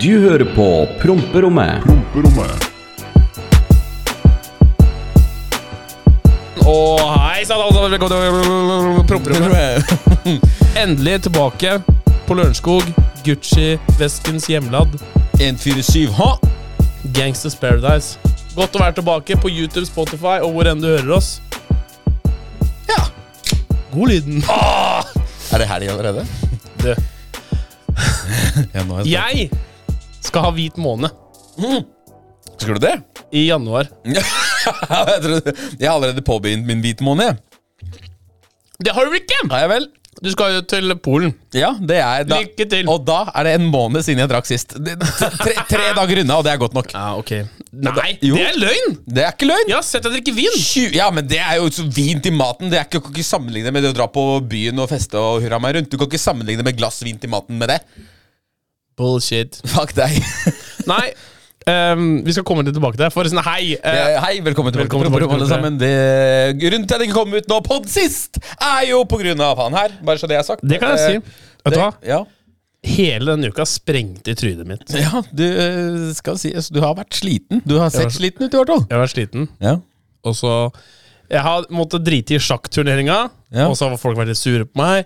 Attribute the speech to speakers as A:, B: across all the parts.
A: Du hører på Promperommet.
B: Og hei sann, alle sammen. Velkommen til Promperommet. Endelig tilbake på Lørenskog. Gucci, veskens hjemladd.
C: 147, ha!
B: Gangsters Paradise. Godt å være tilbake på YouTube, Spotify og hvor enn du hører oss.
C: Ja.
B: God lyden.
C: Er det helg allerede?
B: Ah, Du,
C: Ja, nå er jeg
B: jeg skal ha hvit måned
C: spent. Skal Mhm. du det?
B: i januar.
C: jeg, trodde- jeg har allerede påbegynt min hvite måned. jeg.
B: Det har du vel ikke?
C: Har jeg vel?
B: Du skal jo til Polen.
C: Ja, det er da.
B: Lykke til.
C: Og da er det en måned siden jeg drakk sist. Det- Tre, tre dager unna, og det er godt nok.
B: Ja, Ah, ok. Nei,
C: Jo.
B: det er løgn!
C: Det er ikke løgn!
B: Jeg har sett deg drikke vin.
C: Tju- Ja, men det er jo så vin til maten. Det er ikke, kan ikke sammenligne med det å dra på byen og feste og hurra meg rundt. Du kan ikke sammenligne med glass vin til maten med det.
B: Bullshit.
C: Fuck deg.
B: Nei, ehm, vi skal komme litt tilbake til det. Forresten, hei! eh,
C: Eh, Hei, velkommen tilbake
B: Velkommen
C: til
B: tilbake
C: Promperommet, alle
B: til
C: sammen. Det, grunnen til at jeg ikke kom ut nå på sist, er jo på grunn av han her. Bare så det er sagt.
B: Det kan jeg
C: Eh,
B: si. Vet du hva?
C: det- Ja,
B: Hele denne uka sprengte i trynet mitt.
C: ja du eh, skal si altså, Du har vært sliten. Du har sett sliten ut i hvert fall.
B: Jeg var sliten,
C: Ja.
B: og så Jeg har måttet drite i sjakkturneringa,
C: Ja.
B: og så har folk vært litt sure på meg.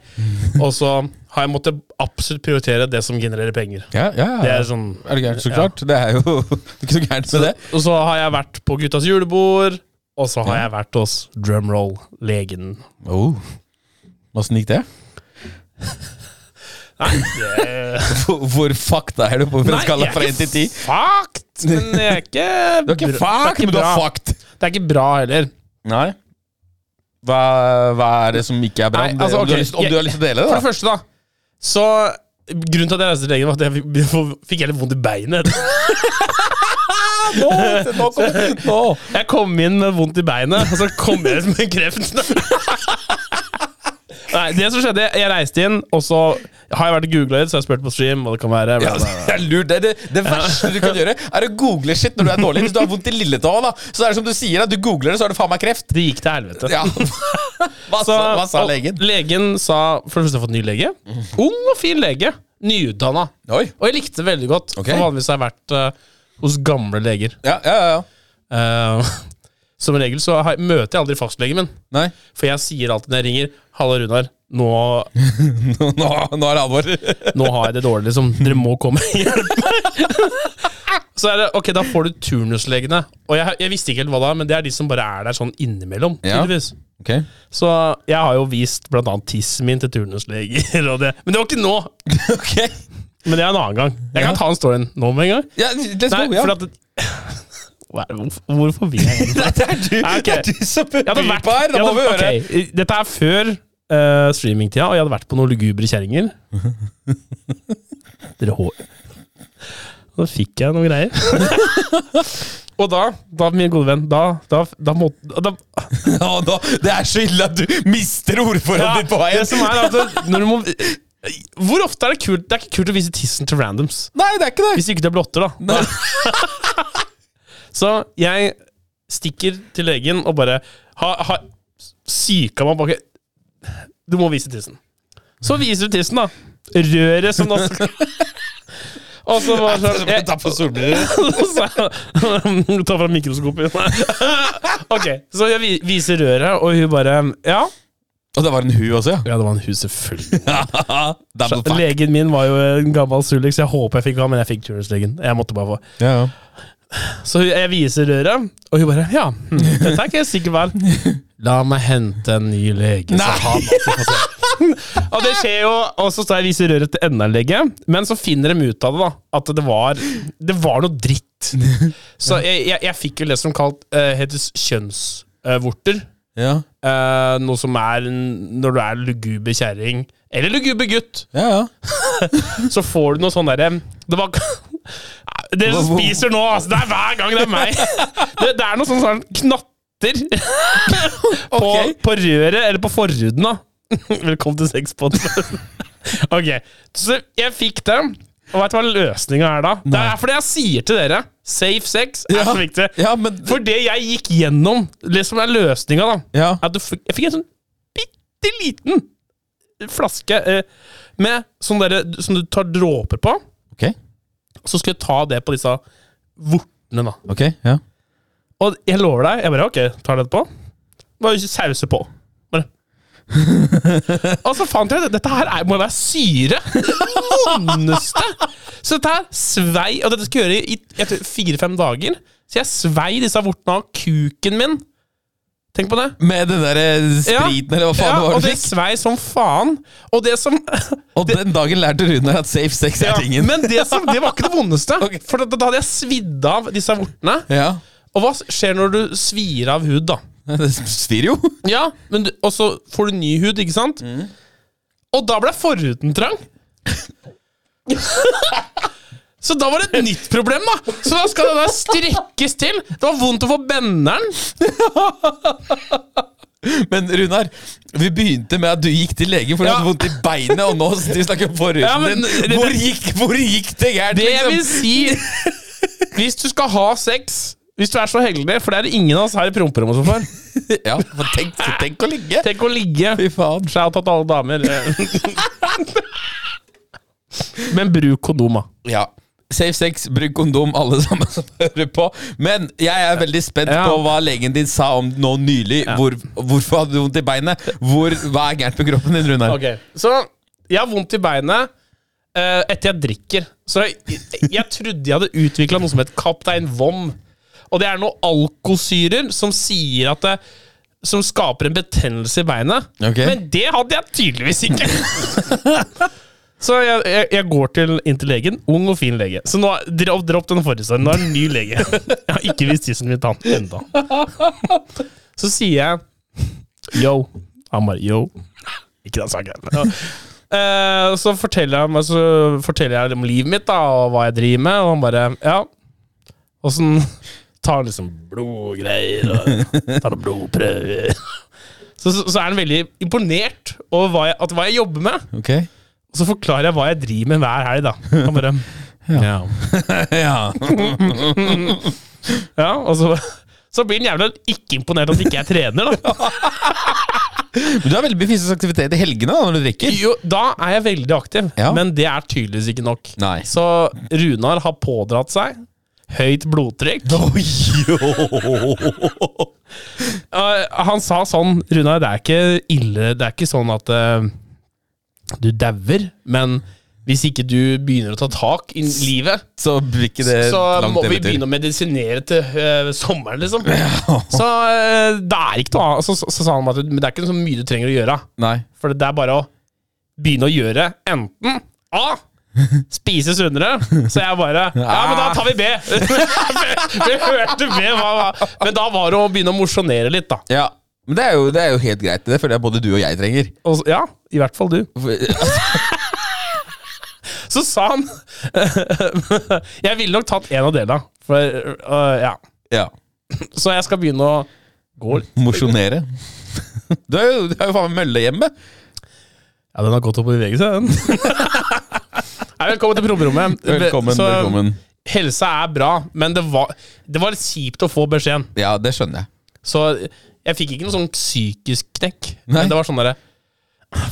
B: Og så har jeg måttet absolutt prioritere det som genererer penger.
C: Ja, ja, ja.
B: Det er sånn
C: Er det gærent, så klart? Det er jo ikke så gærent med det.
B: Og så har jeg vært på guttas julebord, og så har jeg vært hos Drumroll, legen.
C: Oh. Åssen gikk det?
B: Nei, det
C: Hvor, hvor fucked er du på en skala fra 1 til 10?
B: fucked, men jeg er ikke
C: Du er ikke fucked,
B: bra- det, er ikke
C: men du
B: bra.
C: er fucked.
B: det er ikke bra heller.
C: Nei. Hva, hva er det som ikke er bra?
B: Nei,
C: Om det-
B: altså,
C: om, du
B: ok,
C: har lyst, om du
B: jeg-
C: har lyst til å dele
B: For
C: det,
B: det første, da. Så Grunnen til at jeg reiste til legen, var at jeg fikk- fikk helt vondt i beinet.
C: da? Nå, nå kommer nå.
B: Jeg kom inn med vondt i beinet, og så kom jeg ut med kreft. Nei, det som skjedde, jeg reiste inn, og så har jeg vært og googla litt, så jeg har spurt på stream, og det kan være
C: Ja,
B: bla,
C: det
B: bla, bla.
C: er lurt. Det, er det, det verste du kan gjøre, er å google shit når du er dårlig. Hvis du har vondt i lilletåa, da, så er det som du sier, at du googler det, så er det faen meg kreft.
B: Det gikk til helvete.
C: Ja. Hva, sa,
B: Så-
C: hva sa
B: og
C: legen?
B: Legen sa For det første har jeg fått ny lege. Ung og fin lege. Nyutdanna.
C: Oi.
B: Og jeg likte det veldig godt.
C: Ok.
B: For vanligvis har jeg vært eh, hos gamle leger.
C: Ja, ja, ja. ja.
B: Eh, som regel så har, møter jeg aldri fastlegen min.
C: Nei,
B: For jeg sier alltid når jeg ringer 'Halla, Runar. Nå,
C: nå, nå nå er det alvor.
B: nå har jeg det dårlig, liksom. Dere må komme og hjelpe meg.' Så er det, ok, Da får du turnuslegene. Og jeg, jeg visste ikke helt hva det er, men det er de som bare er der sånn innimellom.
C: Ja.
B: tydeligvis.
C: Ok.
B: Så jeg har jo vist blant annet tissen min til turnusleger. Og det. Men det var ikke nå! Men det er en annen gang. Jeg kan ta en storyen nå med en gang.
C: Ja, let's
B: Nei,
C: go. Ja.
B: for at Hva er- Hvorfor, hvorfor vil jeg egentlig
C: Det, det, er du,
B: Ja, ok.
C: det er du som byr
B: Jeg hadde vært,
C: på her. Da
B: jeg
C: må vi
B: hadde,
C: høre.
B: ok, Dette er før eh, streamingtida, og jeg hadde vært på noen lugubre kjerringer. Dere hår. Da fikk jeg noen greier. og da, da, min gode venn, da, da, da, må, da
C: Ja, nå, det er så ille at du mister ordforrådet
B: Ja,
C: ditt på veien.
B: Det som er at når du må Hvor ofte er det kult Det er ikke kult å vise tissen til randoms.
C: Nei, det er ikke det.
B: Hvis ikke det er blotter, da.
C: Nei.
B: Så jeg stikker til legen og bare har ha, syka meg bak Du må vise tissen. Så viser du tissen, da. Røret som da Og så var det
C: Som
B: sånn
C: å
B: jeg-
C: ta på solbriller.
B: så sa jeg- Ta fram mikroskopet. Ok, så jeg vi- viser røret, og hun bare Ja.
C: Og det var en hu også,
B: Ja, det var en hun, selvfølgelig.
C: ja. Double fuck.
B: Legen min var jo en gammel sullik, så jeg håper jeg fikk ha, men jeg fikk turnuslegen. Jeg måtte bare få.
C: Ja, ja.
B: Så hun- jeg viser røret, og hun bare Ja, hm, dette er ikke jeg sikker vel. La meg hente en ny lege. så
C: Nei.
B: han også får se. og det skjer jo, og så står jeg og viser røret til enda en lege, men så finner de ut av det, da. At det var, det var noe dritt. Så jeg, jeg, jeg fikk jo det som kalt, eh, heter kjønnsvorter.
C: Ja,
B: Eh, noe som er en- når du er luguber kjerring, eller luguber gutt,
C: ja. ja.
B: så får du noe sånn derre Det var Dere som spiser nå, altså! Det er hver gang det er meg! Det, det er noe sånn sånn knatter på,
C: Ok.
B: på røret, eller på forhuden, da. Velkommen til sexpod. ok, så jeg fikk det. Og veit du hva løsninga er da? Det er fordi jeg sier til dere safe sex er så viktig.
C: ja, men
B: For det jeg gikk gjennom, det som er løsninga, da
C: ja.
B: er at du fikk, Jeg fikk en sånn bitte liten flaske eh, med sånn derre som du tar dråper på.
C: Ok,
B: Så skulle jeg ta det på disse vortene, da.
C: ok, ja.
B: Og jeg lover deg, jeg bare ok, tar det på. Bare ikke sause på. Bare. og så fant jeg at dette her er, må være syre! Vondeste! Så dette her svei, og dette skal jeg gjøre i, i fire-fem dager. Så jeg svei disse vortene av kuken min. Tenk på det.
C: Med den der eh, spriten, eller hva faen det
B: ja,
C: var
B: og
C: du
B: det
C: fikk.
B: svei som faen. Og det som
C: Og den dagen lærte Rune at safe sex er
B: ja,
C: tingen.
B: Men det, som, det var ikke det vondeste.
C: Ok.
B: For da, da hadde jeg svidd av disse vortene.
C: Ja,
B: Og hva skjer når du svir av hud, da?
C: det svir jo.
B: Ja, men du, og så får du ny hud, ikke sant?
C: Mm.
B: Og da ble forhuden trang. så da var det et nytt problem, da. Så da skal det da strekkes til. Det var vondt å få benderen.
C: Men Runar, vi begynte med at du gikk til legen fordi du
B: Ja.
C: hadde vondt i beinet, og nå sitter vi og snakker om forhuden
B: Ja, men det-
C: din. Hvor gikk, hvor gikk det gærent,
B: Det jeg vil
C: liksom?
B: si Hvis du skal ha sex hvis du er så heldig, for det er det ingen av oss her i promperommet som får.
C: Ja, for tenk, tenk å ligge.
B: Tenk å ligge.
C: Fy faen.
B: Shout out til alle damer. Men bruk kondom, da.
C: Ja. Safe sex, bruk kondom, alle sammen som hører på. Men jeg er veldig spent
B: Ja.
C: på hva legen din sa om nå nylig. Hvor, hvorfor hadde du vondt i beinet? Hvor, hva er gærent med kroppen din, Runar?
B: Ok, Så jeg har vondt i beinet eh, etter jeg drikker. Så jeg, jeg trodde jeg hadde utvikla noe som het Kaptein Vom. Og det er noen alkosyrer som sier at det som skaper en betennelse i beinet.
C: Ok.
B: Men det hadde jeg tydeligvis ikke! Så jeg, jeg, jeg går til, inn til legen. Ung og fin lege. Så nå er- dropp, dropp den forrige storyen. Nå er det en ny lege. Jeg har ikke vist tissen min til han ennå. Så sier jeg yo. Han bare yo. Ikke den saken. Ja. Eh, så forteller jeg, meg- så forteller jeg om livet mitt da, og hva jeg driver med, og han bare ja. Åssen tar han liksom blodgreier og tar noen blodprøver. Så, så, så er han veldig imponert over hva jeg, at hva jeg jobber med.
C: Ok.
B: Og så forklarer jeg hva jeg driver med hver helg, da. Han bare, ja.
C: Ja.
B: ja, og så, så blir han jævla ikke imponert at ikke jeg trener, da.
C: Men du har veldig mye fysisk aktivitet i helgene da, når du drikker.
B: Jo, da er jeg veldig aktiv,
C: Ja.
B: men det er tydeligvis ikke nok.
C: Nei.
B: Så Runar har pådratt seg høyt blodtrykk.
C: Oi, jo.
B: Eh, han sa sånn, Runar, det er ikke ille, det er ikke sånn at eh, du dauer, men hvis ikke du begynner å ta tak i livet,
C: Så blir ikke det
B: så
C: eh, langt
B: må vi
C: eventyr.
B: begynne å medisinere til eh, sommeren, liksom. Så eh, det er ikke noe annet. Så, så, så sa han at det, men det er ikke så mye du trenger å gjøre.
C: Nei.
B: For det er bare å begynne å gjøre enten A. Spise sunnere. Så jeg bare Ja, men da tar vi B! vi hørte B. Hva, hva. Men da var det å begynne å mosjonere litt, da.
C: Ja. Men det er, jo, det er jo helt greit. Det føler jeg både du og jeg trenger.
B: Og, så- ja, i hvert fall du.
C: For-
B: Så sa han Jeg ville nok tatt en av delene. For eh, ja.
C: Ja.
B: Så jeg skal begynne å gå litt.
C: Mosjonere. Du er jo, du er jo faen meg mølle hjemme.
B: Ja, den har gått opp i bevegelse, den. Nei, velkommen til promperommet.
C: Velkommen,
B: Så,
C: velkommen.
B: Helsa er bra, men det var, det var litt kjipt å få beskjeden.
C: Ja, det skjønner jeg.
B: Så jeg fikk ikke noe sånn psykisk knekk.
C: Nei.
B: Men det var sånn derre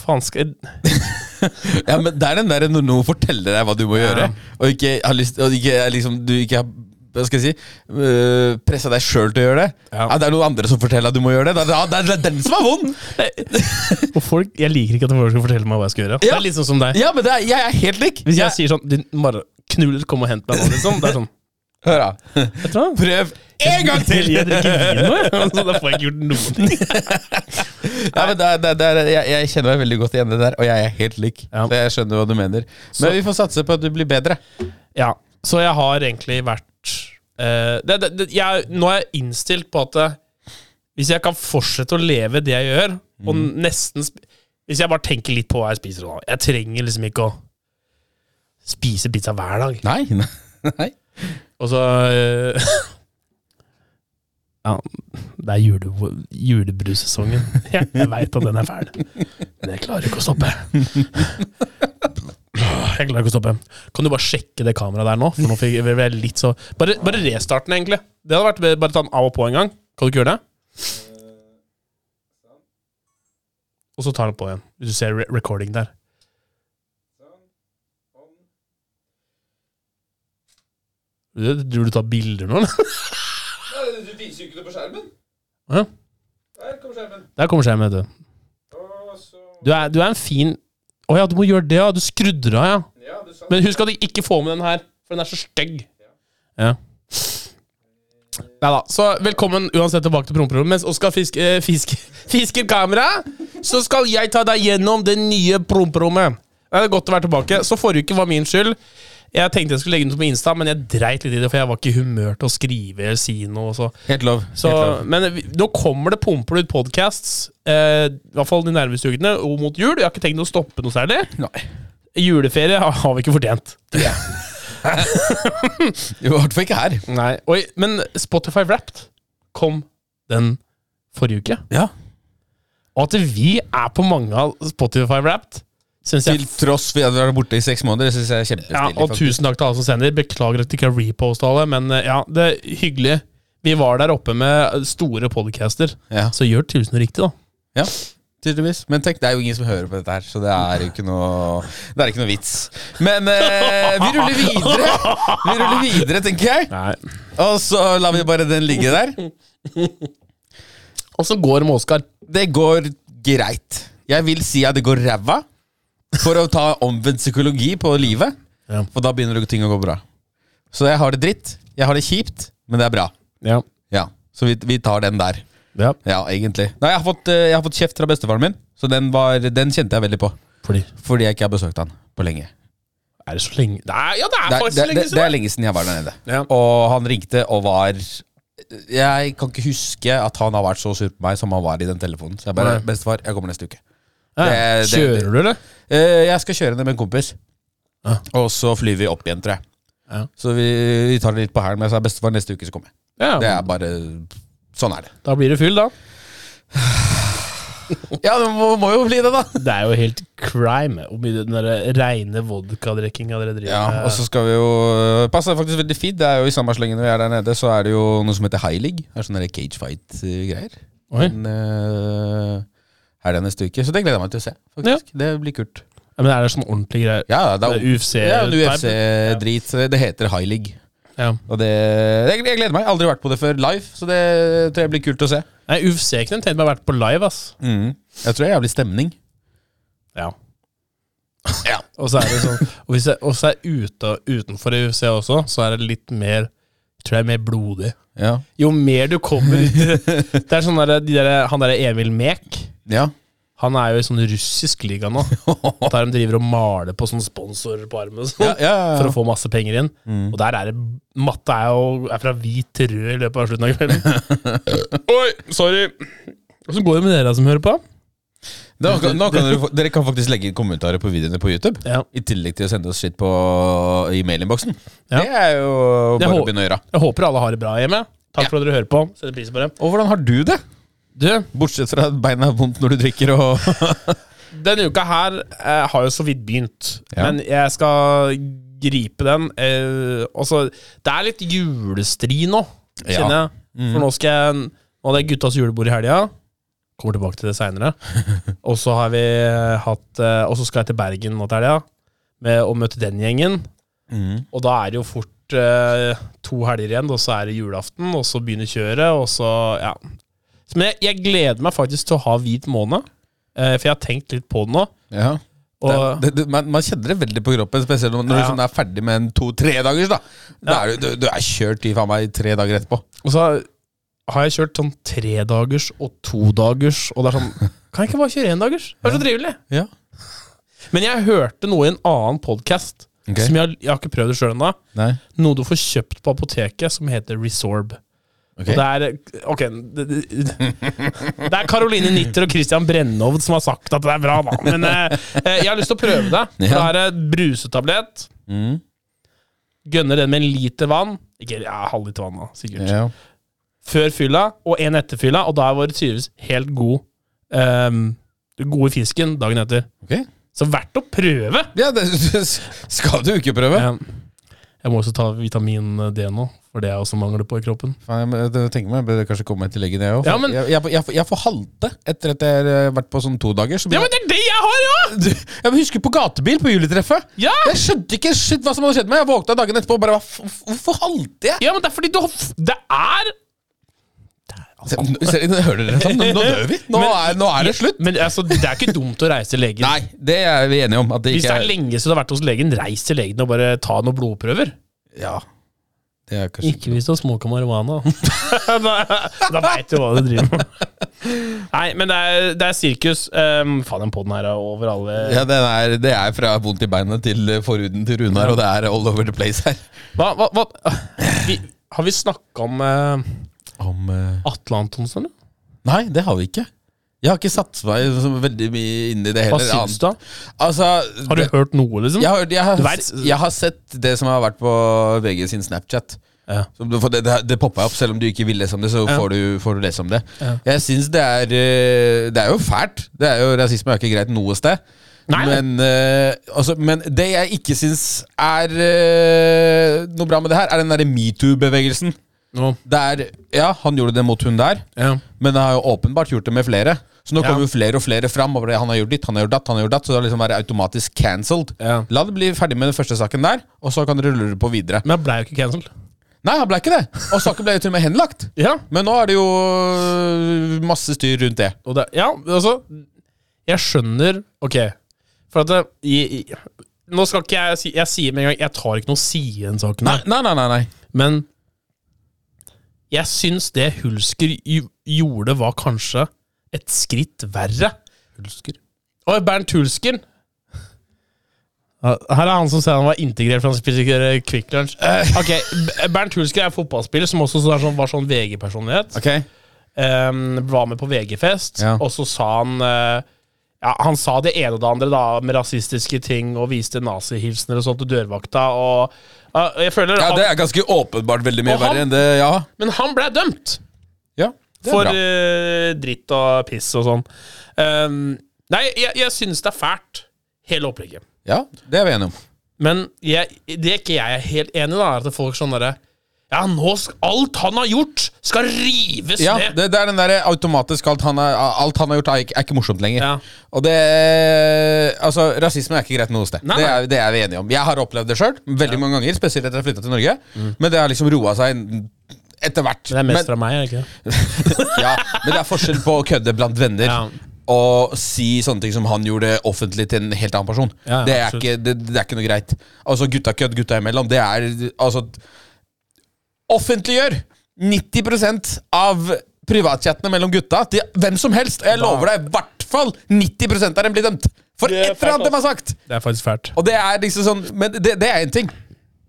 B: Faen, skal jeg
C: Ja, men Det er den der når noen forteller deg hva du må gjøre, og ikke har lyst Og ikke, er liksom, du ikke har hva skal jeg si øh, pressa deg sjøl til å gjøre det. Ja.
B: Ja.
C: Det er noen andre som forteller deg at du må gjøre det. Det er, det er, det er den som er vond!
B: Og folk, Jeg liker ikke at folk skal fortelle meg hva jeg skal gjøre. Det
C: Ja.
B: er litt sånn som deg.
C: Ja, men det er, jeg er helt lik.
B: Hvis jeg
C: Jeg-
B: sier sånn Din marraknuller, kom og hent meg nå, liksom. Det er sånn
C: Hør, da.
B: Vet du hva?
C: Prøv en gang til!
B: Jeg drikker vin nå, jeg. Altså, da får jeg ikke gjort noen ting.
C: Ja, men det er, det er, det er, jeg, jeg kjenner meg veldig godt igjen i det der, og jeg er helt lik.
B: Ja.
C: Så jeg skjønner hva du mener. Men
B: Så-
C: vi får satse på at du blir bedre.
B: Ja, så jeg har egentlig vært eh, det, det, det, jeg, Nå er jeg innstilt på at eh, hvis jeg kan fortsette å leve det jeg gjør, og nesten sp- Hvis jeg bare tenker litt på hva jeg spiser nå Jeg trenger liksom ikke å spise pizza hver dag.
C: Nei, nei. nei.
B: Og så eh, Ja, det er jule, julebrussesongen. Jeg, jeg veit at den er fæl, men jeg klarer ikke å stoppe. jeg klarer ikke å stoppe. Kan du bare sjekke det kameraet der nå? For nå fikk jeg ble jeg litt så Bare, bare restart den, egentlig. Det hadde vært Bare ta den av og på en gang. Kan du ikke gjøre det? Og så tar den på igjen. Hvis du ser re recording der. Du tror du tar bilder nå, eller?
C: Du viser jo ikke det på skjermen.
B: Ja.
C: Der kommer skjermen.
B: Der kommer skjermen, vet du.
C: Og så
B: Du er, du er en fin Å ja, du må gjøre det, ja. Du skrudder av, ja.
C: Ja, du sa
B: Men husk at du ikke får med den her, for den er så stygg. Ja. Nei da. Så velkommen uansett tilbake til promperommet. Mens Oskar fisk, eh, fisk, fisker kamera, så skal jeg ta deg gjennom det nye promperommet. Det er godt å være tilbake. Så forrige uke var min skyld. Jeg tenkte jeg skulle legge den ut på Insta, men jeg dreit litt i det, for jeg var ikke i humør til å skrive eller si noe. Så.
C: Helt lov.
B: Så, men vi- nå kommer det pumper ut podcasts, eh, i hvert fall de nærmeste ukene, og mot jul. Jeg har ikke tenkt å stoppe noe særlig.
C: Nei.
B: Juleferie har, har vi ikke fortjent.
C: I hvert fall ikke her.
B: Nei, oi, Men Spotify Wrapped kom den forrige uke.
C: Ja.
B: Og at vi er på mange av Spotify Wrapped, syns jeg
C: Til tross for at vi har vært borte i seks måneder. Det synes jeg er
B: ja,
C: kjempestilig.
B: Og
C: faktisk.
B: tusen takk til alle som sender. Beklager at jeg ikke har reposta alle, men eh, ja, det er hyggelig. Vi var der oppe med store podcaster,
C: Ja.
B: så gjør tusen riktig, da.
C: Ja, tydeligvis. Men tenk, det er jo ingen som hører på dette her, så det er jo ikke noe, det er ikke noe vits. Men eh, vi ruller videre, Vi ruller videre, tenker jeg.
B: Nei.
C: Og så lar vi bare den ligge der.
B: Og så går det med Oskar.
C: Det går greit. Jeg vil si at det går ræva, for å ta omvendt psykologi på livet.
B: Ja.
C: For da begynner ting å gå bra. Så jeg har det dritt, jeg har det kjipt, men det er bra.
B: Ja.
C: Ja, Så vi, vi tar den der.
B: ja.
C: Ja, egentlig. Nei, jeg har fått, eh, jeg har fått kjeft fra bestefaren min, så den, var, den kjente jeg veldig på.
B: Fordi
C: Fordi jeg ikke har besøkt han på lenge.
B: Er det så lenge Nei, ja, det er
C: Det er,
B: faktisk
C: det,
B: så
C: det,
B: lenge
C: det er
B: siden!
C: lenge siden jeg var der nede.
B: Ja.
C: Og han ringte og var Jeg kan ikke huske at han har vært så sur på meg som han var i den telefonen. Så jeg bare
B: Nei.
C: 'Bestefar, jeg kommer neste uke'.
B: Ja.
C: det- det-
B: Kjører du, eller?
C: Eh, jeg skal kjøre ned med en kompis,
B: Ja.
C: og så flyr vi opp igjen, tror jeg.
B: Ja.
C: Så vi, vi tar det litt på hælen, men jeg sa 'bestefar, neste uke så kommer jeg'. Det
B: Ja,
C: er bare Sånn er det.
B: Da blir det fyll, da.
C: Ja, det må, må jo bli det, da.
B: Det er jo helt crime hvor mye den der reine vodkadrikkinga dere driver
C: Ja, og så skal vi jo eh, Passer faktisk veldig fint. Det er jo I samme slengen når vi er der nede, så er det jo noe som heter High League. Det er sånne der cage fight-greier.
B: Oi.
C: Men uh, er det neste uke, så det gleder jeg meg til å se. faktisk Det blir kult.
B: Ja, Men er det sånn ordentlig greier?
C: Ja, det er
B: Det er UFC?
C: ja, en UFC-drit. så Det heter High League.
B: Ja.
C: Og det, det, jeg gleder meg. Jeg har aldri vært på det før live, så det tror jeg blir kult å se. Mm.
B: Nei, UFC-knem tenkte meg å ha vært på live, ass.
C: Jeg tror det er jævlig stemning.
B: Ja.
C: Ja.
B: Og så er det sånn Og hvis jeg, og så er jeg ute, utenfor UFC også, så er det litt mer Tror jeg er mer blodig.
C: Ja.
B: Jo mer du kommer ut i Det er sånn der, de der, Han derre Emil Mek
C: ja.
B: han er jo i sånn russisk liga nå, der de driver og maler på sånne sponsorer på armen. og sånn.
C: Ja, ja, ja. Mm.
B: for å få masse penger inn. Og der er det Matte er jo er fra hvit til rød i løpet av slutten av kvelden. Oi, sorry. Åssen går det med dere som hører på?
C: Da, kan- nå kan dere, dere kan faktisk legge inn kommentarer på videoene på YouTube.
B: Ja.
C: I tillegg til å sende oss shit på, i mailinnboksen.
B: Ja.
C: Det er jo
B: Det
C: bare
B: hå-
C: å begynne å gjøre.
B: Jeg håper alle har det bra hjemme. Takk for at dere hører på. Setter pris på det.
C: Og hvordan har du det?
B: Du,
C: Bortsett fra at beina er vondt når du drikker og
B: denne uka her eh, har jo så vidt begynt,
C: Ja.
B: men jeg skal gripe den. Eh, altså, det er litt julestri nå,
C: Ja. Mhm.
B: kjenner jeg. For nå skal jeg Nå hadde jeg guttas julebord i helga. Kommer tilbake til det seinere. og så har vi hatt eh, Og så skal jeg til Bergen nå til helga med å møte den gjengen.
C: Mhm.
B: Og da er det jo fort eh, to helger igjen, og så er det julaften, og så begynner kjøret, og så Ja. Så, Men jeg, jeg gleder meg faktisk til å ha hvit måned, eh, for jeg har tenkt litt på det nå.
C: Ja.
B: Og,
C: det, det, man, man kjenner det veldig på kroppen, spesielt når du
B: Ja.
C: liksom er ferdig med en to-tre dagers. Da Da er du, du, du er kjørt i faen meg tre dager etterpå.
B: og så har jeg kjørt sånn tredagers og todagers, og det er sånn Kan jeg ikke bare kjøre endagers? Det er så trivelig!
C: Ja.
B: Men jeg hørte noe i en annen podkast.
C: Ok.
B: Som jeg, jeg har ikke prøvd det sjøl ennå.
C: Nei.
B: Noe du får kjøpt på apoteket som heter Resorb.
C: Ok.
B: Og det er Ok. Det, det, det er Caroline Nitter og Christian Brennovd som har sagt at det er bra, da. Men eh, eh, jeg har lyst til å prøve det.
C: Ja. Mm.
B: For Det er eh, brusetablett. Gønner den med en liter vann. Ikke ja, halvliter vann, da, sikkert.
C: Ja.
B: Før fylla og en etter fylla, og da er vår tydeligvis helt god. eh, god i ehm, fisken dagen etter.
C: Ok.
B: Så verdt å prøve!
C: Ja, det skal du ikke prøve.
B: Jeg, Ehm, jeg må også ta vitamin D nå, for det er også mangler på i kroppen.
C: Faen, jeg, må- jeg tenker meg, jeg burde kanskje komme meg til legen, jeg òg.
B: Ja, men-
C: jeg, jeg, jeg, jeg får halte etter at jeg har vært på sånn to dager. Så blir
B: Ja, men det er det jeg har òg!
C: Du, jeg husker på gatebil på juletreffet.
B: Ja!
C: Jeg skjønte ikke shit hva som hadde skjedd meg. Jeg våkna dagen etterpå og bare "Hva f- f- Hvorfor halte jeg?
B: Ja, men det er fordi du har f- Det er
C: Se, nå- se, Altså, nå hører dere sånn. Nå, nå dør vi. Nå, er, nå er det slutt.
B: Men altså, det er ikke dumt å reise til legen.
C: Nei, det er vi enige om. At det
B: Hvis
C: ikke
B: det er
C: er
B: lenge siden du har vært hos legen, reis til legen og bare ta noen blodprøver.
C: Ja. Det er kanskje
B: Ikke hvis du har smoka marihuana. da da veit du hva du driver med. Nei, men det er, det er sirkus. Um, faen, den poden her er over alle
C: ja, det, er, det er fra vondt i beinet til eh, forhuden til Runar, og det er all over the place her.
B: Hva, hva, hva? Vi, Har vi snakka om eh,
C: Om eh,
B: Atle Antonsen? eller?
C: Nei, det har vi ikke. Jeg har ikke satt meg så veldig mye inn i det
B: Hva
C: heller.
B: syns du? da?
C: Altså,
B: Har du
C: det-
B: hørt noe, liksom?
C: jeg, har, jeg,
B: Du
C: har,
B: vet-
C: jeg har sett det som har vært på VG sin Snapchat.
B: Ja.
C: Som du- For det det, det poppa opp, selv om du ikke vil lese om det. Så
B: Ja.
C: får, du, får du lese om det
B: Ja.
C: Jeg syns det er eh, Det er jo fælt. Det er jo, rasisme er jo ikke greit noe sted.
B: Nei.
C: Men, eh, altså, men det jeg ikke syns er eh, noe bra med det her, er den derre metoo-bevegelsen.
B: Nå.
C: Der, ja, han gjorde det mot hun der.
B: Ja.
C: Men han har jo åpenbart gjort det med flere. Så nå
B: Ja.
C: kommer jo flere og flere fram. Og bare, han har gjort ditt, han har gjort datt, han har gjort datt Så det er liksom bare automatisk cancelled.
B: Ja.
C: La det bli ferdig med den første saken der, og så kan dere rulle det på videre.
B: Men jeg blei jo ikke cancelled.
C: Nei, han ble ikke det. Og saken ble jo til og med henlagt.
B: Ja.
C: Men nå er det jo øh, masse styr rundt det.
B: Og det, ja, altså Jeg skjønner Ok, for at det, i, i, Nå skal ikke jeg si Jeg sier med en gang Jeg tar ikke noe side i den saken
C: Nei,
B: her
C: nei, nei. nei, nei.
B: Men Jeg synes det Hulsker gj- gjorde Var kanskje et skritt verre Hulsker Oi, Bernt Hulsker Ja, her er han som sier han var integrert for han spiser eh, Quick Lunch. Ok, B- Bernt Hulsker er fotballspiller som også er sånn, var sånn VG-personlighet
C: Ok
B: um, var med på VG-fest,
C: Ja.
B: og så sa han eh, ja, Han sa det ene og det andre da med rasistiske ting og viste nazihilsener og sånt til dørvakta. Og, ja, jeg føler
C: Ja,
B: han,
C: Det er ganske åpenbart veldig mye
B: Og han-
C: verre enn det. Ja,
B: Men han ble dømt
C: ja det er
B: for
C: bra.
B: eh, dritt og piss og sånn. Um, nei, jeg, jeg syns det er fælt, hele opplegget.
C: Ja, det er vi enige om.
B: Men jeg, det er ikke jeg er helt enig i, da, er at folk sånn derre ja, nå skal alt han har gjort, skal rives
C: Ja,
B: ned!
C: det, det er den der automatisk alt han, har- alt han har gjort, er ikke, er ikke morsomt lenger.
B: Ja.
C: Og det Altså, rasisme er ikke greit noe sted.
B: Nei,
C: Det,
B: nei.
C: er, det er vi enige om. Jeg har opplevd det sjøl, veldig mange ganger, spesielt etter at jeg flytta til Norge.
B: Mm.
C: Men det har liksom roa seg etter hvert.
B: Det er mest
C: men,
B: fra meg, er det ikke det?
C: ja, men det er forskjell på å kødde blant venner.
B: Ja.
C: Og si sånne ting som han gjorde offentlig til en helt annen person.
B: Ja, ja,
C: det, er
B: absolutt.
C: ikke, det, det er ikke noe greit. Altså Gutta kødd gutta imellom. Det er altså Offentliggjør 90 av privatchattene mellom gutta til hvem som helst. Og jeg lover deg, i hvert fall 90 av dem blir dømt! For
B: Det
C: et
B: er
C: eller annet
B: fælt,
C: de har sagt!
B: Det er faktisk fælt.
C: Og det er liksom sånn Men det, det er én ting.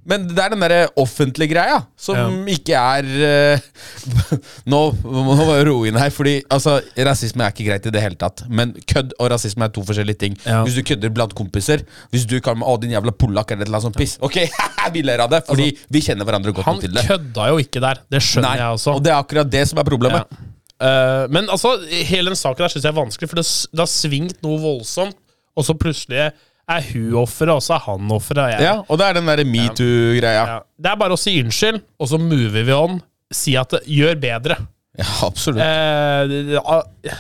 C: Men det er den derre offentlige greia som ikke er eh, Nå må jeg bare roe inn her, fordi altså, rasisme er ikke greit i det hele tatt. Men kødd og rasisme er to forskjellige ting.
B: Ja.
C: Hvis du kødder blant kompiser Hvis du kaller meg 'Å, din jævla polakk' eller et eller annet sånt piss, ok, vi ler av det, fordi vi kjenner hverandre godt
B: Altså, Han
C: nok til det.
B: kødda jo ikke der. Det skjønner
C: Nei,
B: jeg også.
C: Og det er akkurat det som er problemet.
B: Ja. Eh, men altså, hele den saken der syns jeg er vanskelig, for det, s- det har svingt noe voldsomt, og så plutselig er hun offeret, og så er han offeret. og jeg-
C: Ja, og det er den derre metoo-greia.
B: Ja. Det er bare å si unnskyld, og så mover vi on. Si at det, gjør bedre.
C: Ja, absolutt.
B: Eh, det- det- ah,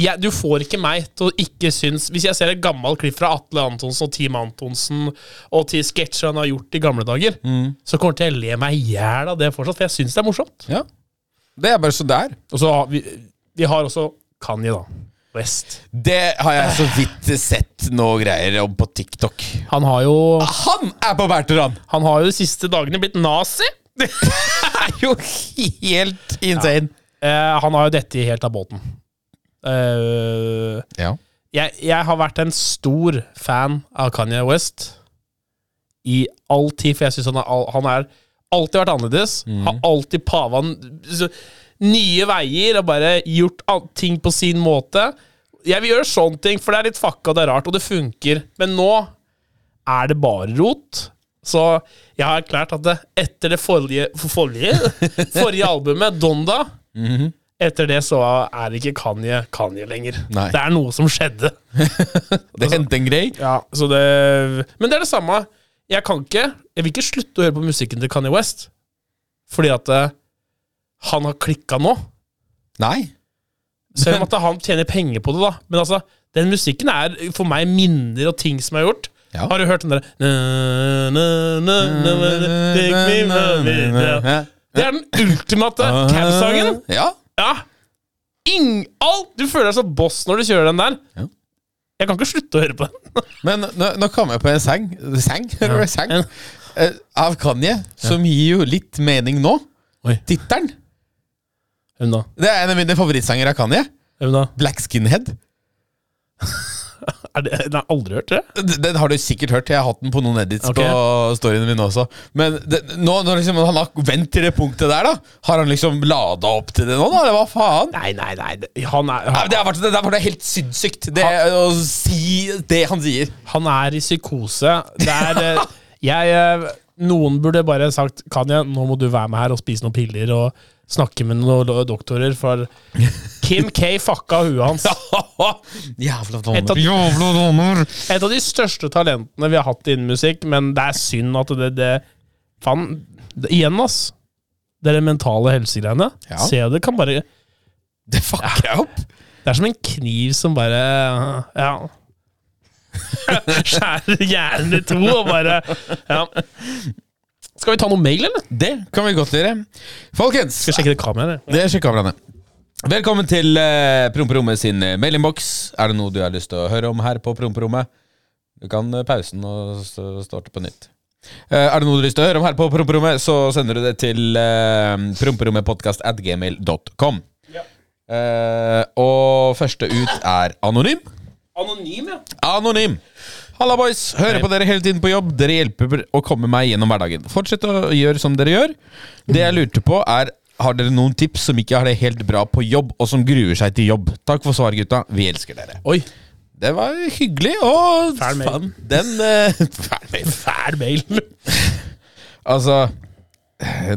B: jeg, du får ikke meg til å ikke synes Hvis jeg ser et gammelt klipp fra Atle Antonsen og Team Antonsen og til sketsjer han har gjort i gamle dager,
C: Mm.
B: så kommer til jeg le meg i hjel av det fortsatt, for jeg syns det er morsomt.
C: Ja. Det er bare så der.
B: Og så har vi, vi har også Kanye, da. West.
C: Det har jeg så vidt sett noe greier om på TikTok.
B: Han har jo,
C: Han er på hvert ran!
B: han har jo de siste dagene blitt nazi!
C: Det er jo helt insane.
B: Eh, han har jo dette i helt av båten. Eh,
C: Ja.
B: jeg, jeg har vært en stor fan av Kanye West i all tid, for jeg syns han, er all- han er alltid vært annerledes. Har alltid pava n- så- nye veier og bare gjort an- ting på sin måte. Jeg vil gjøre sånne ting, for det er litt fucka, og det er rart, og det funker. Men nå er det bare rot. Så jeg har erklært at det, etter det forrige, forrige, forrige albumet, Donda Etter det så er ikke Kanye Kanye lenger.
C: Nei.
B: Det er noe som skjedde.
C: Det hendte en grei.
B: Så det, men det er det samme. Jeg kan ikke Jeg vil ikke slutte å høre på musikken til Kanye West. Fordi at eh, han har klikka nå.
C: Nei.
B: Selv om at han tjener penger på det, da. Men altså, den musikken er for meg minner og ting som er gjort.
C: Ja.
B: Har du hørt den derre na, na, na, na, na, take me, na, na, na. Det er den ultimate cab-sangen.
C: Ja.
B: Ja. Ing, alt! Du føler deg som boss når du kjører den der.
C: Ja.
B: Jeg kan ikke slutte å høre på den.
C: Men nå, nå kom jeg på en sang, sang, eller sang
B: Ja.
C: eh, av Kanye, som gir jo litt mening nå.
B: Oi.
C: Tittelen.
B: Hvem da?
C: Det er en av mine favorittsanger av Kanye.
B: Hvem da?
C: Black Skinhead.
B: Er det, den har jeg aldri hørt, det.
C: Den den har du sikkert hørt. Jeg har hatt den på noen edits
B: Ok.
C: på storyene mine også. Men det, nå når liksom, han har vendt til det punktet der, da har han liksom lada opp til det nå, da? Eller hva faen?
B: Nei, nei, nei. det- Han er,
C: Nei, men
B: han,
C: det, har vært, det, har vært helt sinnssykt, det å si det han sier.
B: han er i psykose. Det er eh, Jeg eh, Noen burde bare sagt Kanye, nå må du være med her og spise noen piller og snakke med noen lo- doktorer, for Kim K fucka huet hans.
C: Jævla
B: Et av-
C: dommer. Jævla dommer.
B: Et av de største talentene vi har hatt innen musikk, men det er synd at det, det Faen. det- Igjen, ass. Det er det mentale helsegreiene.
C: Ja.
B: Se, det kan bare Det
C: Det fucker jeg opp.
B: er som en kniv som bare Ja. Skjærer hjernen i to og bare Ja. Skal vi ta noe mail, eller? Skal
C: Det kan vi godt gjøre. Folkens,
B: jeg sjekke det kameraet, eller?
C: det er sjekkekameraene. Velkommen til uh, Promperommet sin eh, mailinnboks. Er det noe du har lyst til å høre om her på Promperommet? Du kan eh, pause den og s- starte på nytt. Eh, er det noe du har lyst til å høre om her på Promperommet, så sender du det til uh, promperommetpodkastatgmail.com. Eh, og første ut er Anonym.
B: Anonym, ja.
C: Anonym. Halla, boys. Hører på dere hele tiden på jobb. Dere hjelper å komme meg gjennom hverdagen. Fortsett å gjøre som dere gjør. Det jeg lurte på, er har dere noen tips som ikke har det helt bra på jobb, og som gruer seg til jobb? Takk for svar, gutta. Vi elsker dere.
B: Oi.
C: Det var hyggelig og
B: Fæl mail.
C: Faen, Den eh, Fæl mail.
B: Fæl mail.
C: Altså,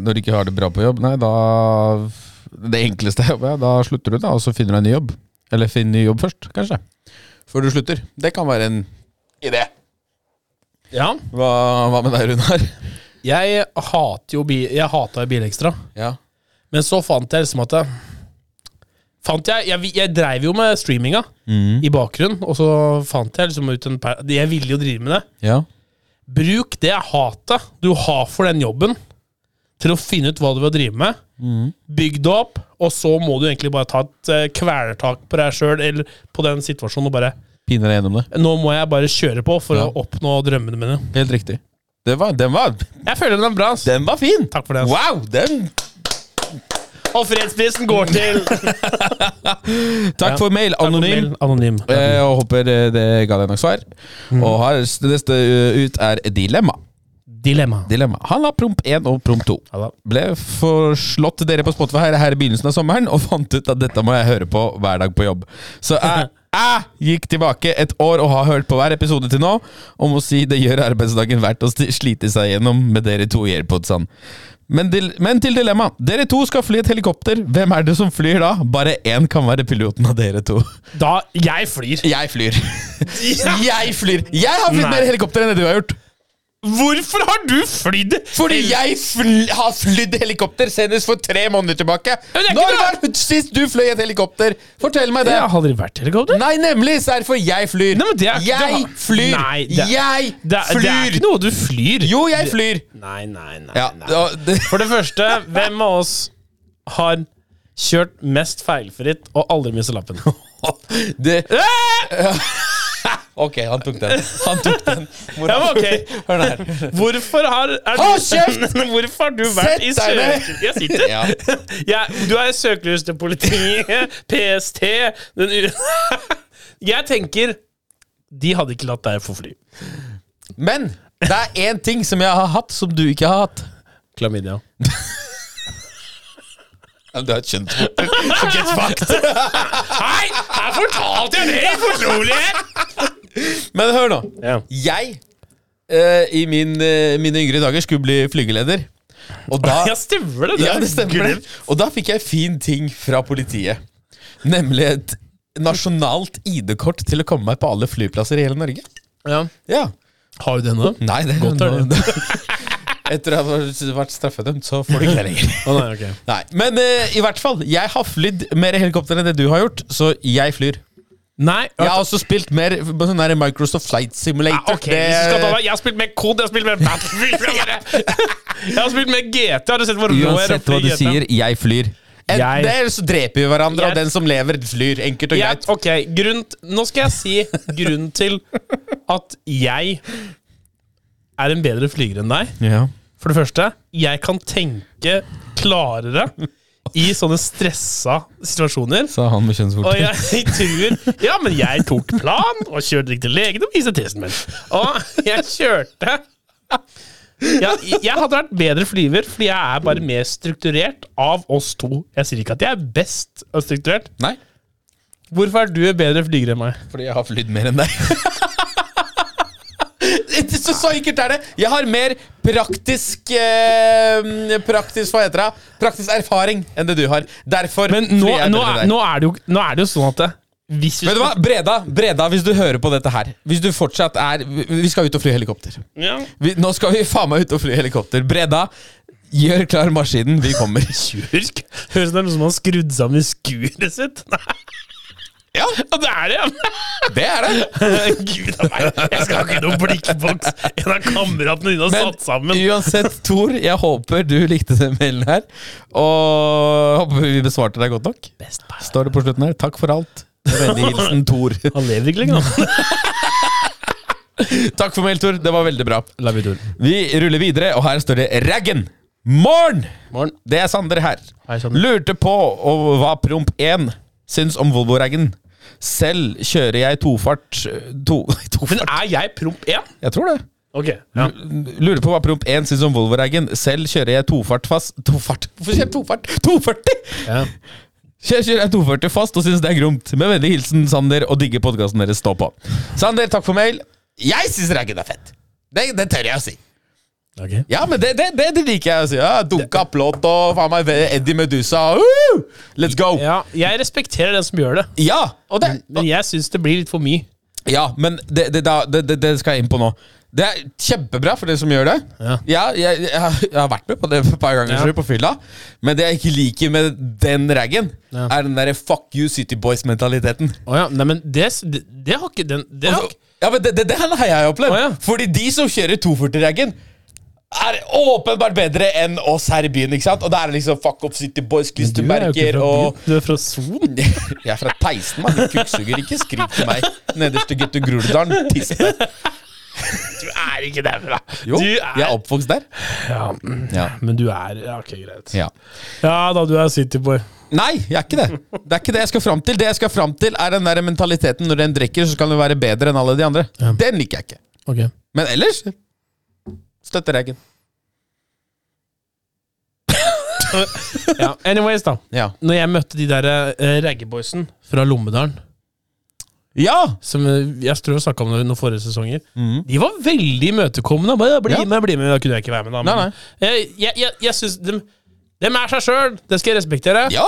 C: når du ikke har det bra på jobb, nei, da Det enkleste er jobb, ja, da slutter du, da, og så finner du en ny jobb. Eller finn ny jobb først, kanskje. Før du slutter. Det kan være en idé.
B: Ja.
C: Hva, hva med deg, Runar?
B: Jeg hater jo bi Jeg hater Bilekstra.
C: Ja.
B: Men så fant jeg liksom at jeg, fant jeg, jeg, jeg dreiv jo med streaminga i bakgrunnen, og så fant jeg liksom ut en per... Jeg ville jo drive med det.
C: ja.
B: Bruk det hatet du har for den jobben, til å finne ut hva du vil drive med. Bygg det opp, og så må du egentlig bare ta et eh, kvelertak på deg sjøl eller på den situasjonen og bare
C: Piner deg gjennom det.
B: Nå må jeg bare kjøre på for å oppnå drømmene mine.
C: Helt riktig. Det var, den, var,
B: Jeg føler den er bra. ass.
C: den var fin!
B: Takk for det. ass.
C: Wow! Den.
B: Og fredsprisen går til
C: Takk for mail, anonym.
B: Anonym.
C: Eh, og håper eh, det ga deg nok svar.
B: Mm.
C: Og her, s- det neste eh, ut er Dilemma.
B: Dilemma.
C: Dilemma. Han har promp 1 og promp 2.
B: Ja da.
C: Ble forslått dere på Spotify her, her i begynnelsen av sommeren, og fant ut at dette må jeg høre på hver dag på jobb. Så jeg, jeg gikk tilbake et år og har hørt på hver episode til nå, og må si det gjør arbeidsdagen verdt å sti- slite seg gjennom med dere to i airpodsene. Men, til- men til dilemma. Dere to skal fly et helikopter. Hvem er det som flyr da? Bare én kan være piloten av dere to.
B: Da Jeg flyr.
C: Jeg flyr. Jeg flyr. Jeg har flydd
B: Nei.
C: mer helikopter enn det du har gjort.
B: Hvorfor har du flydd?
C: Fordi jeg fl har flydd helikopter senest for tre måneder tilbake.
B: Men det er ikke
C: Når
B: bra.
C: var det sist du fløy et helikopter? Fortell meg det.
B: Jeg har aldri vært i helikopter.
C: Nei, nemlig! Så er det for jeg flyr.
B: Nei, men det er- det
C: jeg
B: har-
C: flyr!
B: Nei, det-
C: jeg
B: Det, er- det er
C: flyr!
B: ikke noe du flyr.
C: Jo, jeg flyr!
B: Nei, nei, nei.
C: Ja,
B: nei.
C: og det,
B: For det første, hvem av oss har kjørt mest feilfritt og aldri mistet lappen?
C: det Ok, han tok den. Han tok den. Hvor-
B: Ja, men ok.
C: Hør der.
B: Hvorfor har er
C: Hold
B: du-
C: kjeft!
B: Hvorfor har du
C: Sett
B: vært i
C: deg ned!
B: søkelys? Jeg sitter.
C: Ja.
B: Jeg, du er i søkelys til politiet, PST den u Jeg tenker De hadde ikke latt deg få fly.
C: Men det er én ting som jeg har hatt, som du ikke har hatt.
B: Klamydia.
C: Du har et kjønnsvorter. Så get fucked.
B: Hei! Her fortalte jeg det i fortrolighet!
C: Men hør nå.
B: Ja.
C: Jeg eh, i min, eh, mine yngre dager skulle bli flygeleder. Og da,
B: Ja, stemmer det! det
C: ja,
B: har
C: det
B: jeg
C: stemmer.
B: glemt.
C: Og da fikk jeg fin ting fra politiet. Nemlig et nasjonalt ID-kort til å komme meg på alle flyplasser i hele Norge.
B: Ja.
C: Ja.
B: Har du det nå?
C: Nei, det
B: Godt er det.
C: Etter å ha vært straffedømt, så får du ikke det lenger.
B: Å nei, ok.
C: Nei, Men eh, i hvert fall, jeg har flydd mer helikopter enn det du har gjort, så jeg flyr.
B: Nei,
C: Jeg har også spilt mer på sånn der Microsoft Flight
B: Ja,
C: Simulator.
B: ok, hvis du skal ta meg- Jeg har spilt med Cod, jeg har spilt med Battlefield jeg bare- Jeg har spilt med GT. Har du sett hvor rå jeg er
C: Uansett
B: oppe i
C: hva du
B: GTA?
C: sier, jeg flyr. Enten
B: Jeg-
C: det, eller så dreper vi hverandre,
B: Jeg-
C: og den som lever, flyr. Enkelt og
B: Jeg,
C: greit.
B: ok, grunn, Nå skal jeg si grunnen til at jeg er en bedre flyger enn deg. For det første, jeg kan tenke klarere i sånne stressa situasjoner.
C: Sa han med
B: Og
C: kjønnsvorter.
B: jeg tror Ja, men jeg tok plan og kjørte riktig legen og viste testen min. Og jeg kjørte ja, Jeg hadde vært bedre flyver, fordi jeg er bare mer strukturert av oss to. Jeg sier ikke at jeg er best og strukturert.
C: Nei,
B: Hvorfor er du bedre flyger enn meg?
C: fordi jeg har flydd mer enn deg. Det- så, så enkelt er det. Jeg har mer praktisk eh, Praktisk hva heter det? Praktisk erfaring enn det du har. Derfor
B: Men nå,
C: flyr jeg
B: nå,
C: bedre
B: er,
C: enn deg.
B: nå, er det jo, nå er det jo sånn at det, hvis vi
C: Vet du hva? Breda, Breda, hvis du hører på dette her Hvis du fortsatt er Vi vi skal ut og fly helikopter.
B: Ja.
C: Vi, nå skal vi faen meg ut og fly helikopter. Breda, gjør klar maskinen. Vi kommer.
B: Urk. Høres ut som det er noen som har skrudd sammen skuret sitt.
C: Ja,
B: Ja, det er det, ja.
C: det er det.
B: Gud a meg. Jeg skal ha ikke noen blikkboks. En av kameratene dine har
C: Men
B: satt sammen.
C: uansett, Tor, jeg håper du likte den mailen her. Og håper vi besvarte deg godt nok. Står det på slutten her. Takk for alt. Med Vennlig hilsen Tor.
B: Han lever ikke lenger, han.
C: Takk for mail, Tor. Det var veldig bra.
B: Love you, Tor.
C: Vi ruller videre, og her står det Raggen. Morn!
B: Morgen.
C: Det er Sander her.
B: Hei, Sander.
C: Lurte på og hva Promp 1 syns om Volvo-raggen. Selv kjører jeg tofart to,
B: Men ah.
C: Tofart?
B: er jeg promp 1?
C: Jeg tror det.
B: Ok. Ja.
C: Lurer på hva Promp 1 syns om Volvo-raggen. Selv kjører jeg tofart fast Tofart? Hvorfor sier jeg tofart? 240! Kjør, kjør, jeg 240 fast og syns det er gromt. Med vennlig hilsen Sander og digger podkasten deres. Stå på. Sander, takk for mail. Jeg syns raggen er fett. Det, det tør jeg å si.
B: Ok.
C: Ja, men det, det, det, det liker jeg å si. Ja, Dunka plott og faen meg Eddie Medusa. Woo! Let's go!
B: Ja, jeg respekterer den som gjør det,
C: Ja, og det,
B: men jeg syns det blir litt for mye.
C: ja men det, det, da- det, det, det skal jeg inn på nå. Det er kjempebra for dere som gjør det.
B: Ja.
C: jeg, jeg, har- jeg har vært med på det et par ganger
B: Ja.
C: selv på fylla. Men det jeg ikke liker med den raggen,
B: Ja.
C: er den derre fuck you City Boys-mentaliteten.
B: Å ja, nei, men det, det, det har ikke den det har, ikke-
C: Ja, men det, det, det har jeg opplevd.
B: Altså, Å, ja.
C: Fordi de som kjører 240-raggen, er åpenbart bedre enn oss her i byen. ikke sant? Og da er det liksom fuck up City Boys, klistremerker og
B: Du er fra Son.
C: Jeg er fra Theisen, mann. Du Kukksuger, ikke skrik til meg. Nederste gutt i Groruddalen. Tiss på deg.
B: Du er ikke derfra.
C: Jo,
B: du
C: jeg er oppvokst der.
B: ja, mm,
C: Ja.
B: Men du er ja, Ok, greit.
C: Ja.
B: Ja da, du er Cityboy.
C: Nei, jeg er ikke det. Det er ikke det jeg skal fram til. Det jeg skal fram til, er den der mentaliteten når en drikker, så skal du være bedre enn alle de andre. Den liker jeg ikke.
B: Ok.
C: Men ellers støtter jeg ikke.
B: Ja. Anyways, da.
C: Ja.
B: Når jeg møtte de der uh, raggeboysen fra Lommedalen,
C: ja!
B: som eh, jeg tror jeg snakka om det noen forrige sesonger, de var veldig imøtekommende. Bare, ja, bli
C: Mm. Ja.
B: med, bli med. Da kunne jeg ikke være med, da. Men
C: Nei, nei.
B: Jeg, jeg, jeg, jeg syns de, dem er seg sjøl. Det skal jeg respektere.
C: Ja!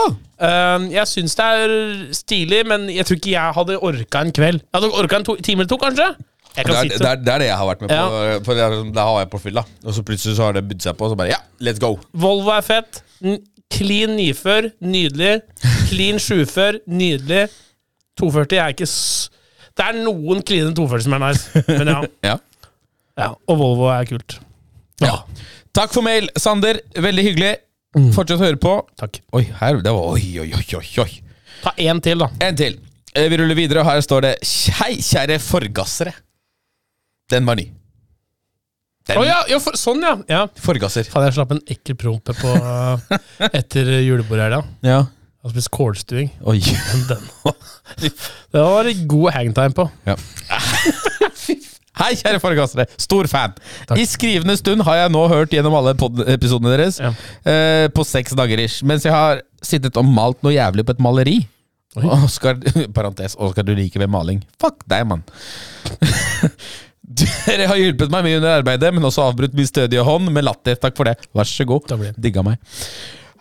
B: Eh, jeg syns det er stilig, men jeg tror ikke jeg hadde orka en kveld. Jeg hadde orka en to, time eller to, kanskje. Jeg
C: Det
B: kan
C: er,
B: sitte
C: det, er, det er det jeg har vært med på.
B: Ja.
C: For det er, liksom- da har jeg på fylla. Og så plutselig så har det bydd seg på, og så bare ja, let's go.
B: Volvo er fett. N- Clean nyfør, nydelig. Clean sjufør, nydelig. 240 er ikke s... Det er noen cleane 240 som er nice, men ja.
C: Ja.
B: ja. Og Volvo er kult.
C: ja. Takk for mail, Sander. Veldig hyggelig. Fortsett å høre på.
B: Takk.
C: Oi, her, det var oi, oi, oi, oi, oi.
B: Ta én til, da.
C: En til. Eh, Vi ruller videre, og her står det Hei, kjære forgassere. Den var ny. Den
B: Å ja, ja for, sånn, ja. ja.
C: Forgasser.
B: Faen, jeg slapp en ekkel prompe på eh, etter julebordet her, da.
C: Ja.
B: Jeg har spist kålstuing.
C: Oi.
B: Den. Det var det god hangtime på.
C: Hei, kjære forgassere. Stor fan. I skrivende stund har jeg nå hørt gjennom alle pod- episodene deres
B: Ja.
C: eh, på seks dager ish, mens jeg har sittet og malt noe jævlig på et maleri. Oskar, parentes, Oskar, du liker ved maling. Fuck deg, mann. Dere har hjulpet meg mye under arbeidet, men også avbrutt min stødige hånd med latter. Takk for det. Vær så god.
B: Takk for det.
C: Digga meg.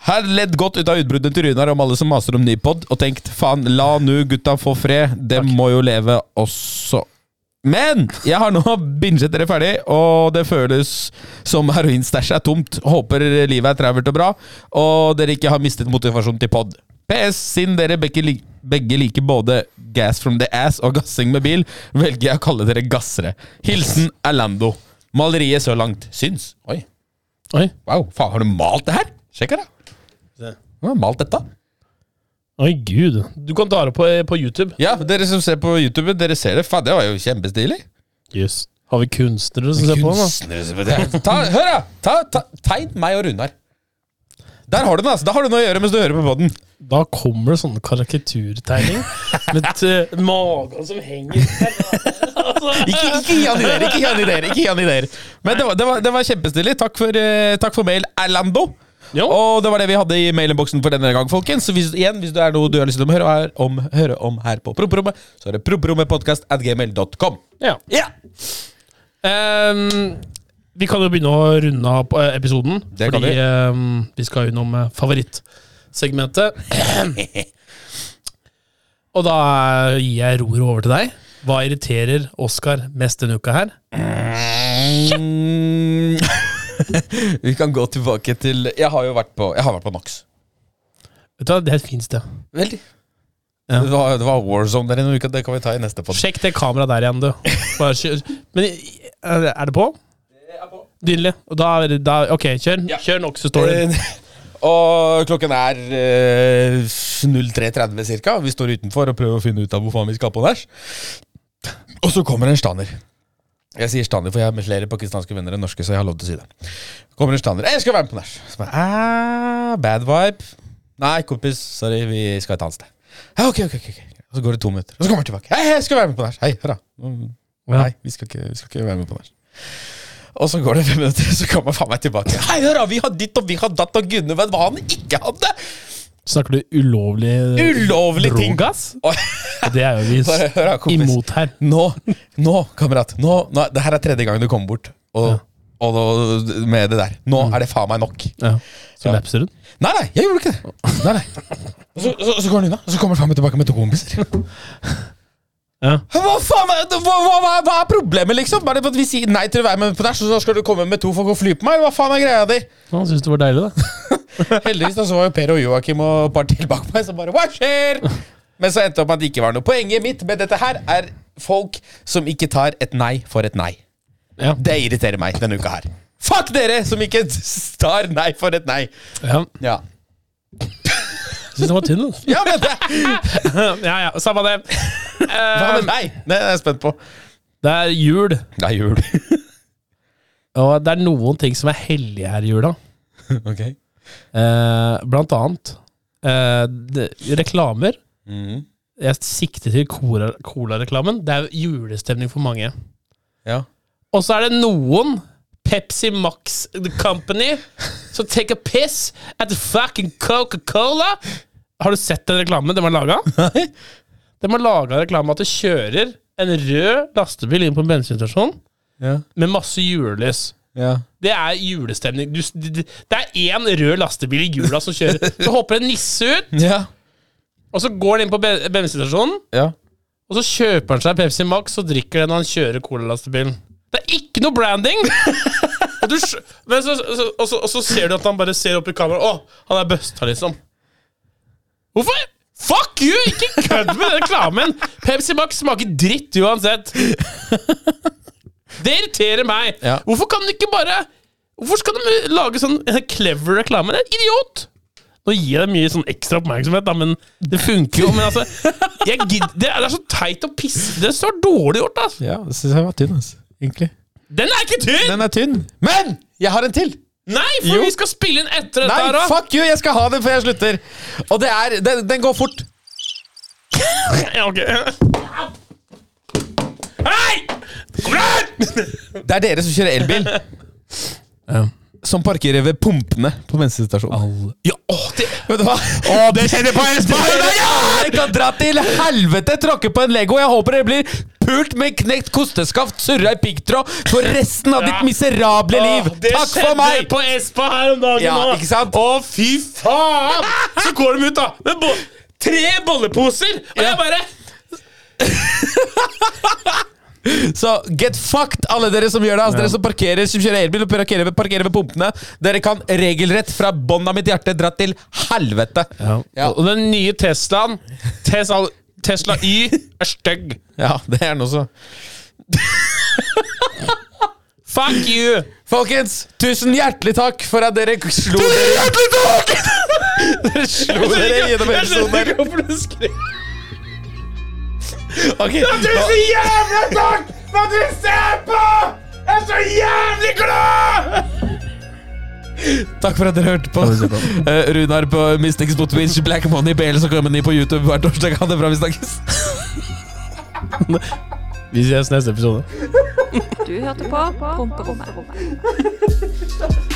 C: Har ledd godt ut av utbruddene til Runar om alle som maser om ny pod, og tenkt faen, la nu gutta få fred. Dem må jo leve også. Men jeg har nå binget dere ferdig, og det føles som heroinstæsjet er tomt. Håper livet er travelt og bra, og dere ikke har mistet motivasjonen til pod. PS, siden dere begge, lik- begge liker både gas from the ass og gassing med bil, velger jeg å kalle dere gassere. Hilsen Erlando. Maleriet så langt syns. Oi,
B: Oi.
C: wow, faen, har du malt det her? Sjekk her, da.
B: Se.
C: Du har malt dette.
B: Oi, gud. Du kan ta det på, eh, på YouTube.
C: Ja, dere som ser på YouTube, dere ser det. Faen, det var jo kjempestilig.
B: Yes. Har vi kunstnere som ser på den? da?
C: Kunstnere som- Det er- Ta, hør, da! Ta, ta, tegn meg og Runar. Der har du den, altså. Da har du noe å gjøre mens du hører på podden
B: Da kommer det sånne karikaturtegninger med uh, magen som henger
C: Ikke, ikke gi han ideer! Ikke gi han ideer! ikke gi han ideer Men det var, det var, det var kjempestilig. Takk for, eh, takk for mail, Erlando.
B: Jo.
C: Og det var det vi hadde i mailinnboksen for denne gang, folkens. Så hvis, igjen, hvis det er noe du har lyst til å høre her- om, høre om her på Proprommet, så er det proprommetpodkast.gmail.com.
B: Ja.
C: Ja!
B: Ehm, vi kan jo begynne å runde av på, eh, episoden.
C: Det kan
B: fordi
C: vi.
B: ehm, vi skal innom eh, favorittsegmentet. Og da eh, gir jeg roret over til deg. Hva irriterer Oskar mest denne uka her?
C: Mm. vi kan gå tilbake til Jeg har jo vært på, jeg har vært på Nox.
B: Vet du hva, Det er et fint sted.
C: Veldig.
B: Ja.
C: Det, var, det var War Zone der i noen uke, det kan vi ta i neste podd.
B: Sjekk det kameraet der igjen, du. Bare kjør. Men eh, er det på? Nydelig. Og da, er det- da Ok, kjør.
C: Ja.
B: Kjør
C: Eh,
B: Nox-storyen.
C: Og klokken er eh, 03.30 cirka. Vi står utenfor og prøver å finne ut av hvor faen vi skal på nach. Og så kommer en staner. Jeg sier staner, for jeg har flere pakistanske venner enn norske, så jeg har lov til å si det. Kommer en staner. «Eh, 'Jeg skal være med på nach'. Så bare, «Ah, Bad vibe. Nei, kompis, sorry, vi skal et annet sted. «Ja, ok, ok, ok, ok. Og så går det to minutter, og så kommer han tilbake. Hei, jeg skal være med på nach. Hei, hurra.
B: Ja.
C: Nei, vi skal, ikke, vi skal ikke være med på nach. Og så går det fem minutter, så kommer faen meg tilbake. Hei, hør da, vi har ditt og vi har datt og gudene vet hva han ikke hadde!
B: Snakker du ulovlig
C: Ulovlige ting!
B: drogas?
C: Og,
B: Og Det er jo vi
C: bare hør da, kompis.
B: imot her.
C: Nå, nå, kamerat. Nå, nå, det her er tredje gangen du kommer bort og, og, og, med det der. Nå er det faen meg nok.
B: Ja. Så
C: Ja.
B: lapser hun.
C: Nei, nei, jeg gjorde ikke det. Nei, nei. Og Så, så, så går han unna, og så kommer faen meg tilbake med to kompiser.
B: Ja.
C: Hva faen, er- hva, hva, hva, hva er problemet, liksom? Er det for at vi sier nei til å være med på nach, så da skal du komme med to folk og fly på meg? eller Hva faen er greia di?
B: Han syntes det var deilig, da.
C: Heldigvis da, så var jo Per og Joakim og et par til bak meg som bare Hva skjer?! Men så endte det opp med at det ikke var noe. Poenget mitt med dette her er folk som ikke tar et nei for et nei.
B: Ja.
C: Det irriterer meg denne uka her. Fuck dere som ikke tar nei for et nei!
B: Ja.
C: Ja,
B: Syns den var tynn, da.
C: ja men det
B: Ja, ja, samme det.
C: Hva
B: Eh,
C: med nei? Det er jeg spent på.
B: det er jul,
C: Det er jul.
B: og det er noen ting som er hellige her i jula.
C: Ok
B: Eh, blant annet eh, det, reklamer. Jeg sikter til Cola- Cola-reklamen. det er jo julestemning for mange.
C: Ja.
B: Og så er det noen Pepsi Max Company som take a piss at the fucking Coca-Cola. Har du sett den reklamen de har laga? De har laga reklame at du kjører en rød lastebil inn på en bensinstasjon
C: Ja.
B: med masse julelys.
C: Ja.
B: Det er julestemning. Du, det, det er én rød lastebil i jula som kjører. Så hopper en nisse ut,
C: Ja.
B: og så går han inn på ben- bensinstasjonen.
C: ja.
B: Og så kjøper han seg Pepsi Max og drikker den når han kjører Cola-lastebilen. Det er ikke noe branding! og, du, skj- men så, så, og, så, og så ser du at han bare ser opp i kameraet. Å, han er busta, liksom. Hvorfor? Fuck you! Ikke kødd med den reklamen! Pepsi Max smaker dritt uansett. Det irriterer meg.
C: Ja.
B: Hvorfor kan du ikke bare Hvorfor skal de lage sånn eh, clever reklame? Det er en idiot! Nå gir jeg deg mye sånn ekstra oppmerksomhet, da, men det funker jo. Men altså, jeg gidder, det, er, det er så teit å pisse Det er så dårlig gjort, altså.
C: ja det syns jeg var tynn, altså. Egentlig.
B: Den er ikke tynn!
C: Den er tynn. Men jeg har en til!
B: Nei, for
C: Jo.
B: vi skal spille inn etter dette
C: Nei,
B: her, da.
C: fuck you! Jeg skal ha den før jeg slutter. Og det er Den, den går fort.
B: Ja, ok. Hei! Kom igjen!
C: Det er dere som kjører elbil. Som parkerer ved pumpene på bensinstasjonen.
B: Ja, åh, det,
C: Vet Vet du hva?
B: Å, det kjenner jeg på en
C: Dere kan dra til helvete tråkke på en Lego. Jeg håper dere blir pult med knekt kosteskaft, surra i piggtråd for resten av ditt miserable liv.
B: Det
C: Takk
B: skjedde
C: for meg!
B: på Espa her om dagen.
C: Ja,
B: da.
C: ikke sant?
B: Å, fy faen! Så går de ut, da. Med bo tre bolleposer! Og jeg bare
C: Så get fucked, alle dere som gjør det. Altså, Dere som parkerer, som kjører elbil og parkerer ved, parkerer ved pumpene. Dere kan regelrett fra bånn av mitt hjerte dra til helvete. Ja.
B: Og den nye Teslaen, Tesla, Tesla Y, er stygg.
C: Ja, det er noe så.
B: Fuck you!
C: Folkens, tusen hjertelig takk for at dere slo dere Hjertelig takk! dere slo dere gjennom
B: Jeg
C: episoden
B: skjønner
C: sånn der.
B: ikke hvorfor du skrev
C: Ok, da-
B: Tusen jævla takk for at dere ser på! Jeg er så jævlig glad!
C: Takk for at dere hørte på. Eh, Runar på Mistenks på Twitch, Black Money på Else kommer ny på YouTube hver torsdag. Ha det bra, vi snakkes.
B: Vi ses neste episode.
D: Du hørte på Promperommet.